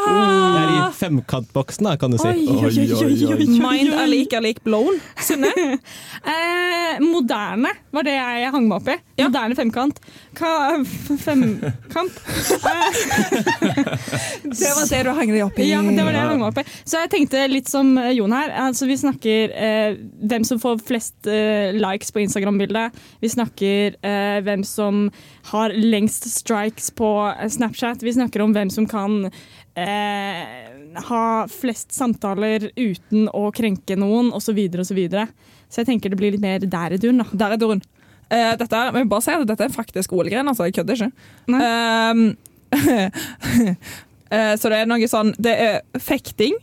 Speaker 8: Det er i femkantboksen, da, kan du si.
Speaker 5: Ah! Oi, oi, oi, oi, oi.
Speaker 4: Mind er lik er lik blown. Synne?
Speaker 5: Eh, moderne var det jeg hang meg opp i.
Speaker 4: Ja.
Speaker 5: Moderne femkant. Ka f- femkamp? Eh,
Speaker 4: Det var det du hang deg opp i.
Speaker 5: ja, det var det jeg hang meg opp i. Så jeg tenkte litt som eh, Jon her. Altså, vi snakker eh, hvem som får flest eh, likes på Instagram-bildet. Vi snakker eh, hvem som har lengst strikes på eh, Snapchat. Vi snakker om hvem som kan eh, ha flest samtaler uten å krenke noen, osv., osv. Så jeg tenker det blir litt mer der i duren, da.
Speaker 4: Der er Dorun. Eh, dette, er- jeg vil bare si at dette er en faktisk OL-gren, altså. Jeg kødder ikke.
Speaker 5: Nei.
Speaker 4: Ehm, *laughs* eh, så det er noe sånn Det er fekting,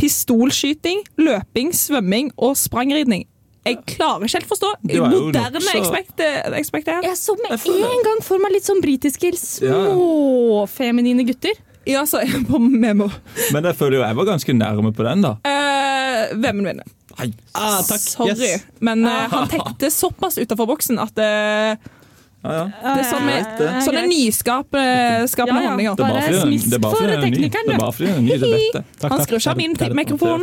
Speaker 4: pistolskyting, løping, svømming og sprangridning. Jeg klarer ikke helt forstå.
Speaker 7: Det var jo
Speaker 4: Moderne
Speaker 7: nokså-
Speaker 4: ekspekt, eh, ekspekt det her.
Speaker 5: Jeg så med
Speaker 7: Jeg føler-
Speaker 5: en gang for meg litt sånn britiske småfeminine gutter.
Speaker 4: Ja, så jeg på memo.
Speaker 7: Men jeg føler jo jeg var ganske nærme på den, da.
Speaker 4: Uh, Vemmen vinner.
Speaker 7: Nei,
Speaker 8: Ah, takk.
Speaker 4: Sorry.
Speaker 8: Yes. *laughs*
Speaker 4: Men eh, han tenkte såpass utafor boksen at eh,
Speaker 7: ja, ja.
Speaker 4: det er sånn, eh,
Speaker 7: greit, det.
Speaker 4: sånne nyskapende
Speaker 5: Ja, ja.
Speaker 4: handlinger.
Speaker 7: Det er bare
Speaker 5: Bare
Speaker 7: fordi den-
Speaker 5: smisk
Speaker 7: det er bare
Speaker 5: for
Speaker 7: fordi den er ny.
Speaker 5: teknikeren,
Speaker 7: Det er
Speaker 5: du.
Speaker 7: bare fordi den er ny, det vet jeg.
Speaker 8: Takk,
Speaker 4: Han
Speaker 8: takk.
Speaker 4: skrur ikke av min
Speaker 8: Der- der-
Speaker 4: mikrofon.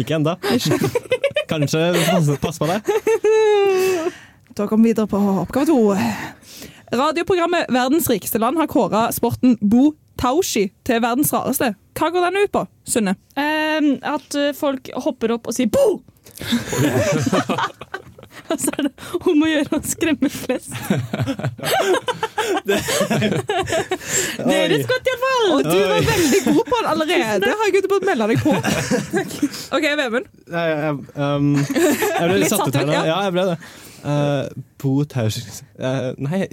Speaker 8: Ikke ennå. Kanskje pass, pass på deg.
Speaker 4: Da kommer vi videre på oppgave to. Radioprogrammet Verdens rikeste land har kåra sporten bo taoshi til verdens rareste. Hva går den ut på, Sunne?
Speaker 5: Ehm, at eh, folk hopper opp og sier 'bo'!
Speaker 4: *laughs*
Speaker 5: Og så er det om å gjøre å skremme
Speaker 4: *laughs*
Speaker 5: flest. Dere
Speaker 8: Oi.
Speaker 5: skvatt iallfall!
Speaker 4: Og du var veldig god på den allerede! *laughs* Det har jeg ikke burde melde deg på. *laughs* OK, Vemund.
Speaker 8: Nei, jeg, um, jeg ble
Speaker 4: Litt
Speaker 8: litt satt ut her
Speaker 4: satt ut,
Speaker 8: nå.
Speaker 4: ja.
Speaker 8: Ja, jeg ble det. Eh, Bo Taus... eh, nei, jeg,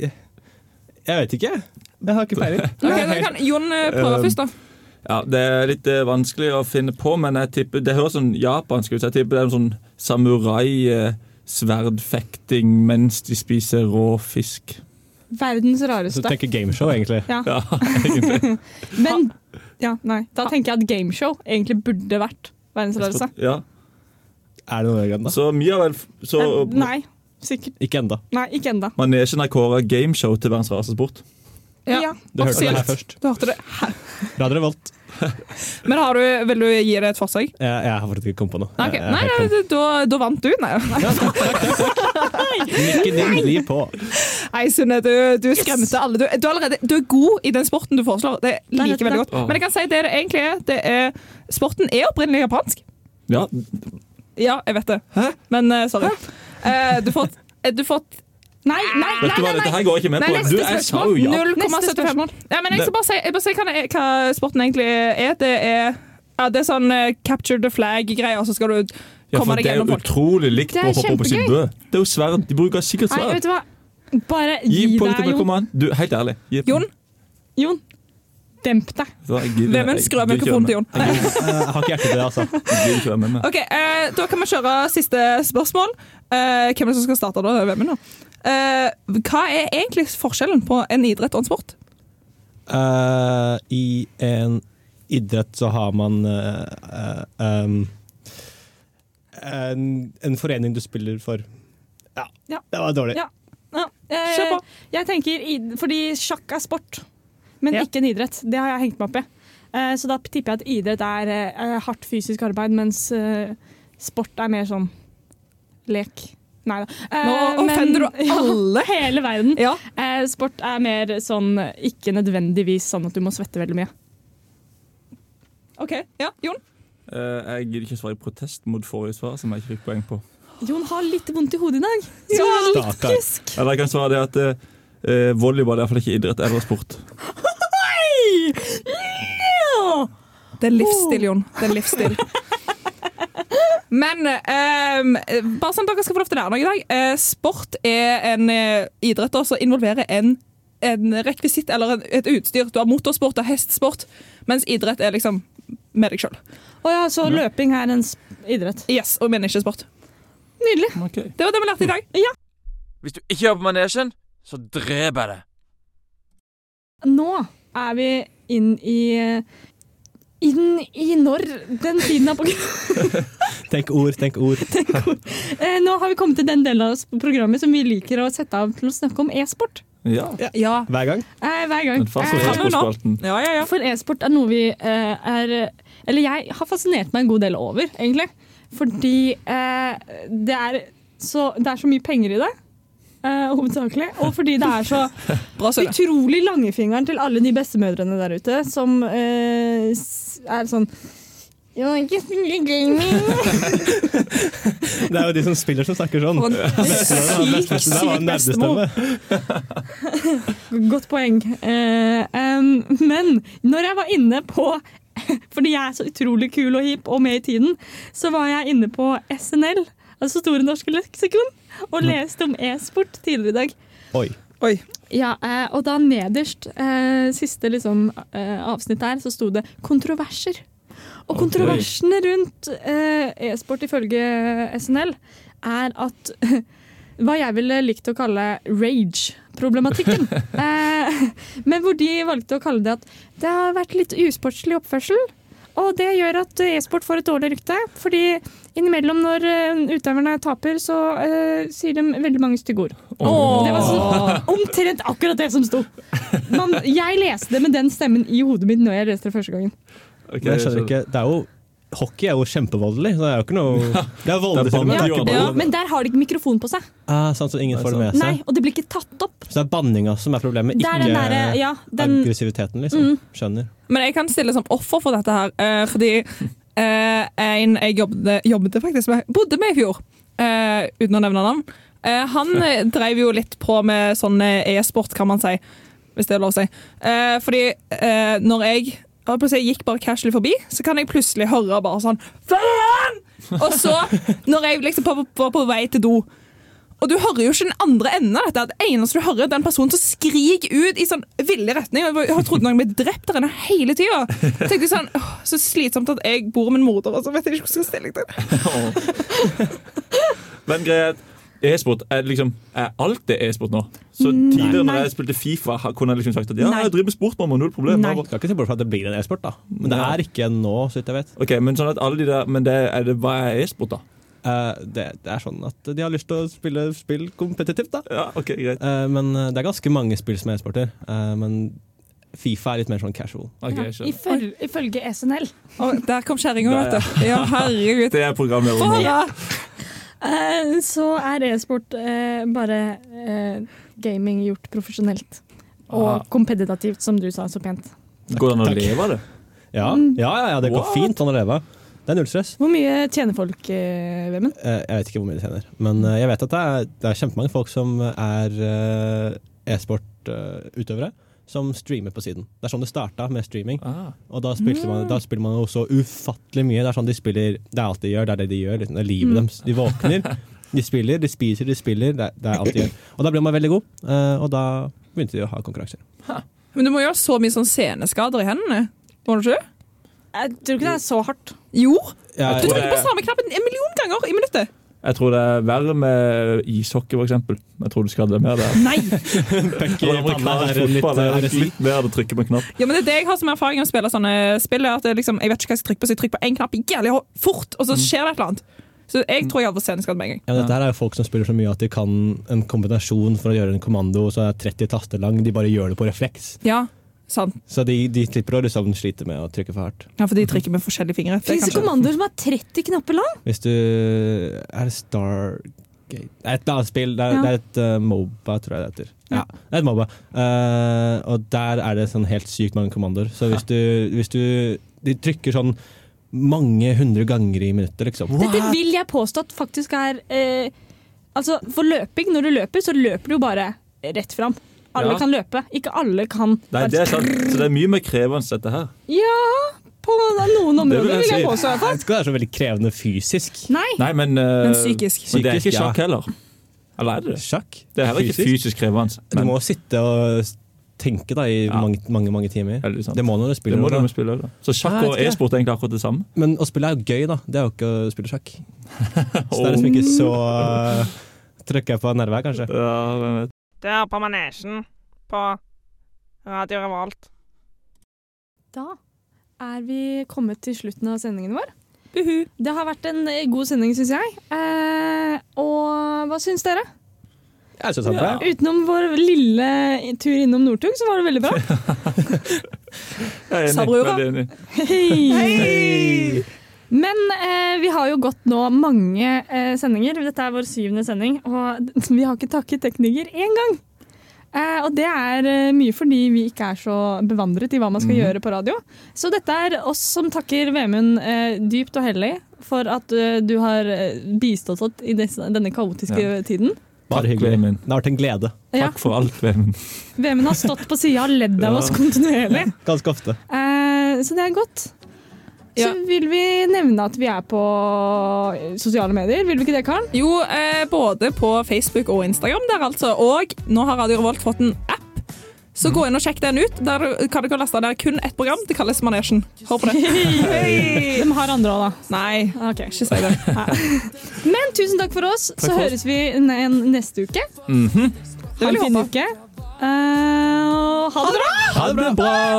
Speaker 8: jeg vet ikke. Jeg har ikke *laughs* peiling.
Speaker 4: Ok, da kan Jon eh, prøve
Speaker 7: Um,
Speaker 4: først, da.
Speaker 7: Ja, Det er litt eh, vanskelig å finne på, men jeg tipper, det høres sånn japansk ut. så Jeg tipper det er en sånn samurai-sverdfekting mens de spiser rå fisk.
Speaker 5: Verdens
Speaker 8: Så
Speaker 5: rareste.
Speaker 8: tenker gameshow, egentlig.
Speaker 5: Ja.
Speaker 7: Ja, egentlig.
Speaker 5: Men ja, nei. Da tenker jeg at gameshow egentlig burde vært verdens rareste.
Speaker 7: Ja.
Speaker 8: Er det noe i den, da?
Speaker 7: Så mye av vel så,
Speaker 5: Eh, Nei. Sikkert.
Speaker 8: Ikke enda.
Speaker 5: Nei, ikke enda.
Speaker 7: Manesjen er kåra gameshow til verdens rareste sport.
Speaker 4: Ja,
Speaker 8: Du hørte det her
Speaker 4: offisielt.
Speaker 8: først.
Speaker 4: Du hørte det.
Speaker 8: Radio Revolt.
Speaker 4: Men har du, vil du gi det et forsøk?
Speaker 8: Jeg, jeg har faktisk ikke kommet på noe.
Speaker 4: Nei, ok.
Speaker 8: Jeg- jeg
Speaker 4: nei,
Speaker 8: har
Speaker 4: nei,
Speaker 8: helt
Speaker 4: du- da, da vant du. Nei,
Speaker 8: kommet- Nikke din gli på.
Speaker 4: nei Sunne, du, du skremte alle. Du, du, er allerede, du er god i den sporten du foreslår. Det liker jeg veldig godt. Men jeg kan si det det egentlig er. Det er sporten er opprinnelig japansk.
Speaker 3: Ja,
Speaker 4: Ja, jeg vet det. Men eh, sorry. Eh, du får, eh, du får
Speaker 5: Nei, nei,
Speaker 7: Vet du hva, dette her går jeg ikke med
Speaker 4: Nei,
Speaker 7: på.
Speaker 4: neste
Speaker 7: Du, jeg sa jo ja.
Speaker 4: 0,75. Ja, men jeg skal bare si, jeg bare si hva, det er, hva sporten egentlig er. Det er, ja, det er sånn eh, capture the flag-greier, og så skal du
Speaker 7: Ja,
Speaker 4: komme
Speaker 7: for
Speaker 4: deg
Speaker 7: det er
Speaker 4: gjennom
Speaker 7: jo
Speaker 4: folk.
Speaker 7: utrolig likt
Speaker 5: Det
Speaker 7: å
Speaker 5: er
Speaker 7: hoppe opp på sin bø. Det er jo sverd. De bruker sikkert
Speaker 5: nei,
Speaker 7: sverd.
Speaker 5: vet du hva? Bare
Speaker 7: Gi
Speaker 5: gi
Speaker 7: poeng
Speaker 5: deg,
Speaker 7: til
Speaker 5: Jon.
Speaker 7: narkoman. Du, helt ærlig. Gi
Speaker 4: Jon,
Speaker 5: Jon, demp deg.
Speaker 7: Vet du hva, jeg gidder-
Speaker 4: hvem
Speaker 7: jeg
Speaker 4: ønsker
Speaker 7: gidder ikke være
Speaker 4: mikrofonen
Speaker 7: med.
Speaker 4: til Jon? Nei.
Speaker 8: Eh, Jeg har ikke hjerte til det, altså.
Speaker 7: Jeg gidder ikke være med meg.
Speaker 4: Ok, eh, Da kan vi kjøre siste spørsmål. Eh, hvem er det som skal starte da? Hvem er det? Eh, hva er egentlig forskjellen på en idrett og en sport?
Speaker 8: Eh, I en idrett så har man eh, eh, um, en, en forening du spiller for. Ja,
Speaker 4: Ja.
Speaker 8: det var dårlig.
Speaker 5: Ja. Ja, eh,
Speaker 4: Kjør på.
Speaker 5: Jeg tenker, i- fordi sjakk er sport, men
Speaker 4: Ja.
Speaker 5: ikke en idrett. Det har jeg hengt meg opp i. Eh, Så da tipper jeg at idrett er eh, hardt fysisk arbeid, mens eh, sport er mer sånn lek. Nei da. Eh,
Speaker 4: Nå
Speaker 5: men- *laughs*
Speaker 4: offender du alle.
Speaker 5: Hele verden.
Speaker 4: Ja.
Speaker 5: Eh, Sport er mer sånn ikke nødvendigvis sånn at du må svette veldig mye.
Speaker 4: Ok, ja, Jon?
Speaker 7: Eh, Jeg gidder ikke svare i protest mot forrige svar, som jeg ikke fikk poeng på.
Speaker 5: Jon har litt vondt i hodet i dag. Så litt
Speaker 8: Stakkar.
Speaker 5: kusk.
Speaker 7: Eller jeg kan svare det at eh, volleyball er iallfall ikke idrett eller sport.
Speaker 5: Ja.
Speaker 4: Det er livsstil, Jon. Det er livsstil. Men ehm, bare sånn at dere skal få lov til å lære noe i dag. Eh, sport er en eh, idrett da, som involverer en, en rekvisitt eller en, et utstyr. Du har motorsport og hestesport, mens idrett er liksom med deg sjøl.
Speaker 5: Å ja, så løping er en sp- idrett.
Speaker 4: Yes, og menneskesport.
Speaker 5: Nydelig.
Speaker 7: Ok.
Speaker 4: Det var det vi lærte i dag.
Speaker 9: Hvis du ikke jobber på manesjen, så dreper jeg deg.
Speaker 5: Nå er vi inn i Inn i når den tiden er på
Speaker 8: Tenk ord, tenk ord.
Speaker 5: *laughs* Eh, Nå har vi kommet til den delen av s- programmet som vi liker å sette av til å snakke om e-sport.
Speaker 7: Ja,
Speaker 4: Ja.
Speaker 8: Hver gang.
Speaker 5: Eh, Hver gang.
Speaker 7: den faste
Speaker 5: Eh,
Speaker 7: e-sportspalten.
Speaker 4: Ja, ja, ja.
Speaker 5: For e-sport er noe vi eh, er Eller jeg har fascinert meg en god del over, egentlig. Fordi eh, det, er så, det er så mye penger i det. eh, hovedsakelig. Og fordi det er så
Speaker 4: Bra, Sunne.
Speaker 5: utrolig langfingeren til alle de bestemødrene der ute som eh, s- er sånn «Jeg vil ikke spille gaming.
Speaker 8: Det er jo de som spiller som snakker sånn.
Speaker 4: For en syk,
Speaker 8: Det der var
Speaker 4: syk
Speaker 8: en
Speaker 4: bestemor.
Speaker 8: nerdestemme.
Speaker 5: *laughs* Godt poeng. Eh, em, men når jeg var inne på *laughs* Fordi jeg er så utrolig kul og hip og med i tiden, så var jeg inne på SNL, altså Store norske leksikon, og leste om e-sport tidligere i dag.
Speaker 8: Oi.
Speaker 4: Oi.
Speaker 5: Ja, eh, Og da nederst, eh, siste liksom, eh, avsnitt der, så sto det 'kontroverser'. Og
Speaker 7: Ok.
Speaker 5: kontroversene rundt eh, e-sport ifølge SNL er at *laughs* hva jeg ville likt å kalle rage-problematikken. eh, men hvor de valgte å kalle det at det har vært litt usportslig oppførsel. Og det gjør at e-sport får et dårlig rykte, fordi innimellom når eh, utøverne taper, så eh, sier de veldig mange stygge ord. Det var så, omtrent akkurat det som sto. Man, jeg leste det med den stemmen i hodet mitt når jeg leste det første gangen.
Speaker 7: Ok,
Speaker 8: Men jeg skjønner
Speaker 7: så- *laughs*
Speaker 8: ikke. Det er jo Hockey er jo kjempevoldelig. så Det er jo ikke *laughs* noe Det er voldelig, til og med. Det er ikke
Speaker 7: Ja.
Speaker 8: bare
Speaker 5: Men der har de ikke mikrofon på seg.
Speaker 8: ah, sånn som ingen får det med
Speaker 5: Nei,
Speaker 8: seg.
Speaker 5: Og det blir ikke tatt opp.
Speaker 8: Så det er banninga som er problemet,
Speaker 5: Det er den derre
Speaker 8: ikke
Speaker 5: Ja, den Mm.
Speaker 8: aggressiviteten, liksom. Skjønner.
Speaker 4: Men jeg kan stille som offer for dette her, eh, fordi eh, en jeg jobbet, jobbet faktisk med, bodde med i fjor, eh, uten å nevne navn. Eh, han eh, drev jo litt på med sånn eh, e-sport, kan man si. Hvis det er lov å si. Eh, fordi eh, når jeg jeg holdt på å si, jeg gikk bare casually forbi, så kan jeg plutselig høre bare sånn Faen! Og så, når jeg liksom var på, var på vei til do, og du hører jo ikke den andre enden av dette. Det eneste du hører, er den personen som skriker ut i sånn ville retning. Jeg har trodd noen ble drept der inne hele tida. Tenkte jeg sånn, «Åh, Så slitsomt at jeg bor med en morder, og så vet jeg ikke hvordan jeg skal stille meg til det.
Speaker 7: Men greia er at E-sport er liksom er alt det er e-sport nå. Så tidligere når
Speaker 5: Nei.
Speaker 7: jeg spilte Fifa, ha- kunne jeg liksom sagt at ja,
Speaker 5: Nei.
Speaker 7: jeg driver med sport, mamma, null problem.
Speaker 5: Nei.
Speaker 7: Jeg bare,
Speaker 8: Skal ikke se bort fra at det blir en e-sport, da. Men det
Speaker 7: Ja.
Speaker 8: er ikke nå, så vidt jeg vet.
Speaker 7: Ok, Men sånn at alle de der Men det, er det, hva er e-sport, da?
Speaker 8: Eh, det, det er sånn at de har lyst til å spille spill kompetitivt, da.
Speaker 7: Ja, ok, greit.
Speaker 8: Eh, men eh, det er ganske mange spill som er e-sporter. Eh, men Fifa er litt mer sånn casual.
Speaker 7: Ok, jeg skjønner.
Speaker 5: Ifølge, ifølge SNL.
Speaker 4: Og der kom kjerringa,
Speaker 7: Der,
Speaker 4: vet du. Ja, herregud.
Speaker 7: Det er programlederen nå.
Speaker 4: Voilà.
Speaker 5: Eh, så er e-sport eh, bare eh, gaming gjort profesjonelt. Og
Speaker 7: Ah.
Speaker 5: kompetitivt, som du sa så pent.
Speaker 7: Går det an å leve av det?
Speaker 8: Ja, ja, ja, ja det går
Speaker 7: Mm. What?
Speaker 8: fint an å leve. Det er null stress.
Speaker 5: Hvor mye tjener folk, eh, Vemund?
Speaker 8: Eh, jeg vet ikke hvor mye de tjener, men eh, jeg vet at det er, det er kjempemange folk som er eh, e-sport-utøvere. Som streamer på siden. Det er sånn det starta med streaming.
Speaker 7: Ah.
Speaker 8: Og da, spilte man, da spiller man jo så ufattelig mye. Det er sånn de spiller Det er alt de gjør, det er det de gjør. liksom. Det er livet
Speaker 7: Mm.
Speaker 8: deres. De våkner, de spiller, de spiser, de spiller. Det, er- det er alt de gjør. Og da ble man veldig god, eh, og da begynte de å ha konkurranser.
Speaker 4: Men du må jo ha så mye sånn seneskader i hendene. Må du ikke?
Speaker 5: Jeg tror ikke det er så hardt.
Speaker 4: Jo!
Speaker 8: Jeg,
Speaker 4: Du
Speaker 7: tror
Speaker 4: trykker
Speaker 7: det-
Speaker 4: på samme knappen en million ganger i minuttet.
Speaker 7: Jeg tror det er verre med ishockey, for eksempel. Jeg tror du skal ha det
Speaker 8: *laughs*
Speaker 7: mer der.
Speaker 4: Nei!
Speaker 7: Eller amerikansk fotball, det er
Speaker 8: litt,
Speaker 7: litt mer det trykker på en knapp.
Speaker 4: Ja, men det er det jeg har som erfaring med å spille sånne spill. er At det liksom, jeg vet ikke hva jeg skal trykke på, så jeg trykker på én knapp jævlig ho- fort, og så skjer det et eller annet. Så jeg tror jeg hadde fått seneskade med en gang.
Speaker 8: Ja, men dette her er jo folk som spiller så mye at de kan en kombinasjon for å gjøre en kommando som er 30 taster lang. De bare gjør det på refleks.
Speaker 4: Ja, sant.
Speaker 8: Så de, de slipper å liksom slite med å trykke for hardt.
Speaker 4: Ja, for de trykker med forskjellige fingre. Det
Speaker 5: Fins det
Speaker 4: kan skje.
Speaker 5: kommandoer som er 30 knapper lang?
Speaker 8: Hvis du Er det Stargate Det er et eller annet spill. Det er,
Speaker 4: Ja.
Speaker 8: det er et eh, Moba, tror jeg det heter. Ja, det er et Moba. Eh, og der er det sånn helt sykt mange kommandoer. Så hvis du, hvis du De trykker sånn mange hundre ganger i minuttet, liksom.
Speaker 5: Dette vil jeg påstå at faktisk er eh, Altså, for løping, når du løper, så løper du jo bare rett fram. Alle
Speaker 7: Ja.
Speaker 5: kan løpe. Ikke alle kan
Speaker 7: Nei, det er sant. Så det er mye mer krevende dette her.
Speaker 5: Ja, på noen
Speaker 7: Det vil
Speaker 5: områder,
Speaker 7: jeg
Speaker 5: vil jeg
Speaker 7: si.
Speaker 5: påstå. i hvert fall.
Speaker 8: Jeg vet ikke om det er så veldig krevende fysisk.
Speaker 5: Nei.
Speaker 7: Nei, men, eh,
Speaker 4: Men psykisk.
Speaker 7: Men det er
Speaker 8: Psykisk,
Speaker 7: ikke
Speaker 8: ja.
Speaker 7: sjakk heller. Eller er det det?
Speaker 8: Sjakk?
Speaker 7: Det er heller ikke fysisk krevende.
Speaker 8: Du
Speaker 7: Men
Speaker 8: må sitte og tenke da, i
Speaker 7: Ja.
Speaker 8: mange, mange mange timer.
Speaker 7: Veldig sant.
Speaker 8: Det må når du
Speaker 7: det
Speaker 8: spiller.
Speaker 7: må du
Speaker 8: da.
Speaker 7: med spille også. Så sjakk
Speaker 8: Nei, jeg
Speaker 7: og
Speaker 8: vet ikke.
Speaker 7: e-sport er egentlig akkurat det
Speaker 8: *laughs*
Speaker 7: samme.
Speaker 8: Men å spille er jo gøy, da. Det er jo ikke å spille sjakk. Så det er liksom ikke så
Speaker 7: Oh.
Speaker 8: uh, Trykker jeg på nerve her, kanskje.
Speaker 7: Ja, hvem vet.
Speaker 10: Det er på manesjen på Radio Revolt.
Speaker 5: Da er vi kommet til slutten av sendingen vår.
Speaker 4: Buhu.
Speaker 5: Det har vært en eh, god sending, syns jeg. Eh, og hva syns dere?
Speaker 8: Jeg synes han er bra.
Speaker 5: Utenom vår lille tur innom Northug, så var det veldig bra.
Speaker 7: Jeg er
Speaker 4: Sa
Speaker 7: enig.
Speaker 4: brura.
Speaker 7: Veldig enig.
Speaker 5: Hei! Men eh, vi har jo gått nå mange eh, sendinger. Dette er vår syvende sending, og *laughs* d- vi har ikke takket tekniker én gang. Eh, og det er eh, mye fordi vi ikke er så bevandret i hva man skal
Speaker 7: Mhm.
Speaker 5: gjøre på radio. Så dette er oss som takker Vemund eh, dypt og hellig for at eh, du har eh, bistått oss i disse, denne kaotiske tiden.
Speaker 8: Bare
Speaker 7: Takk,
Speaker 8: hyggelig.
Speaker 7: Vemund.
Speaker 8: Det har vært en glede.
Speaker 5: Ja,
Speaker 7: Takk for alt, Vemund.
Speaker 5: Vemund har stått på sida og ledd av
Speaker 7: Ja.
Speaker 5: oss kontinuerlig.
Speaker 8: Ganske ofte.
Speaker 5: Eh, så det er godt.
Speaker 4: Ja.
Speaker 5: Så vil vi nevne at vi er på sosiale medier. Vil vi ikke det, Karen?
Speaker 4: Jo, eh, både på Facebook og Instagram der, altså. Og nå har Radio Revolt fått en app. Så gå inn og sjekk den ut. Der du- kan du kan laste der kun ett program. Det kalles Manesjen. Hør på det.
Speaker 5: De har andre òg, da.
Speaker 4: Nei,
Speaker 5: Ok.
Speaker 4: ikke si det.
Speaker 5: Men tusen takk for oss. så
Speaker 7: for oss.
Speaker 5: høres vi n- igjen neste uke.
Speaker 7: Mhm.
Speaker 5: Ha en fin uke. Eh, og ha det bra!
Speaker 8: Ha det bra!